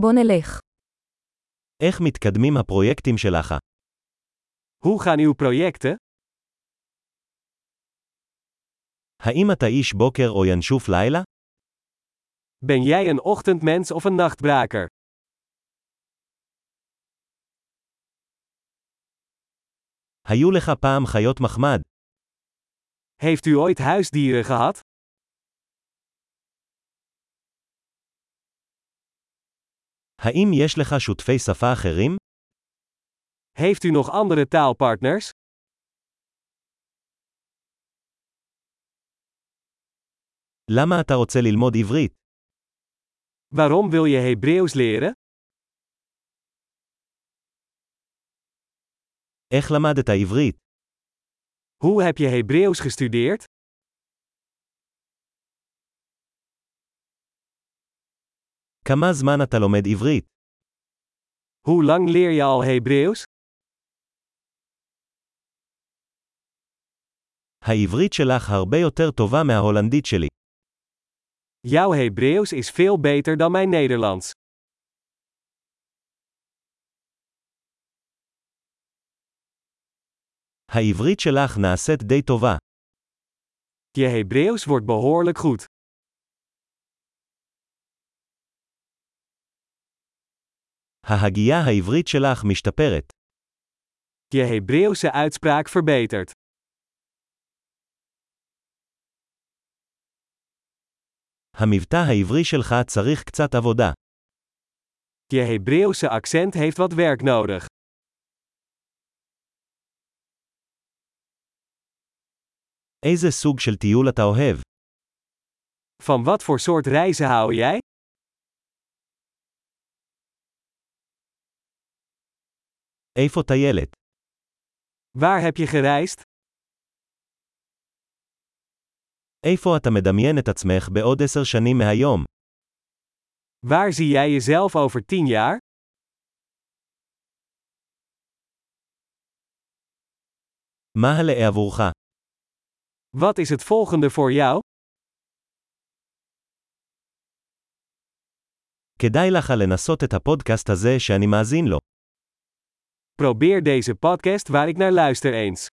בוא נלך. איך מתקדמים הפרויקטים שלך? Hoe gaan uw projecten? האם אתה איש בוקר או ינשוף לילה? Ben jij een ochtendmens of een nachtbraker? היו לך פעם חיות מחמד? Heeft u ooit huisdieren gehad? האם יש לך שותפי שפה אחרים? Heeft u nog andere taalpartners? למה אתה רוצה ללמוד עברית? Waarom wil je Hebreeuws leren? איך למדת עברית? Hoe heb je Hebreeuws gestudeerd? כמה זמן אתה לומד עברית? Hoe lang leer je al Hebreeuws? העברית שלך הרבה יותר טובה מההולנדית שלי. Jouw Hebreeuws is veel beter dan mijn Nederlands. העברית שלך נעשית די טובה. Je Hebreeuws wordt behoorlijk goed. ההגייה העברית שלך משתפרת. Je Hebreeuwse uitspraak verbetert. המבטא העברי שלך צריך קצת עבודה. Je Hebreeuwse accent heeft wat werk nodig. איזה סוג של טיול אתה אוהב? Van wat voor soort reizen hou jij? איפה טיילת? Waar heb je gereisd? איפה אתה מדמיין את עצמך בעוד עשר שנים מהיום? Waar zie jij jezelf over 10 jaar? מה הלאה עבורך? Wat is het volgende voor jou? כדאי לך לנסות את הפודקאסט הזה שאני מאזין לו. Probeer deze podcast waar ik naar luister eens.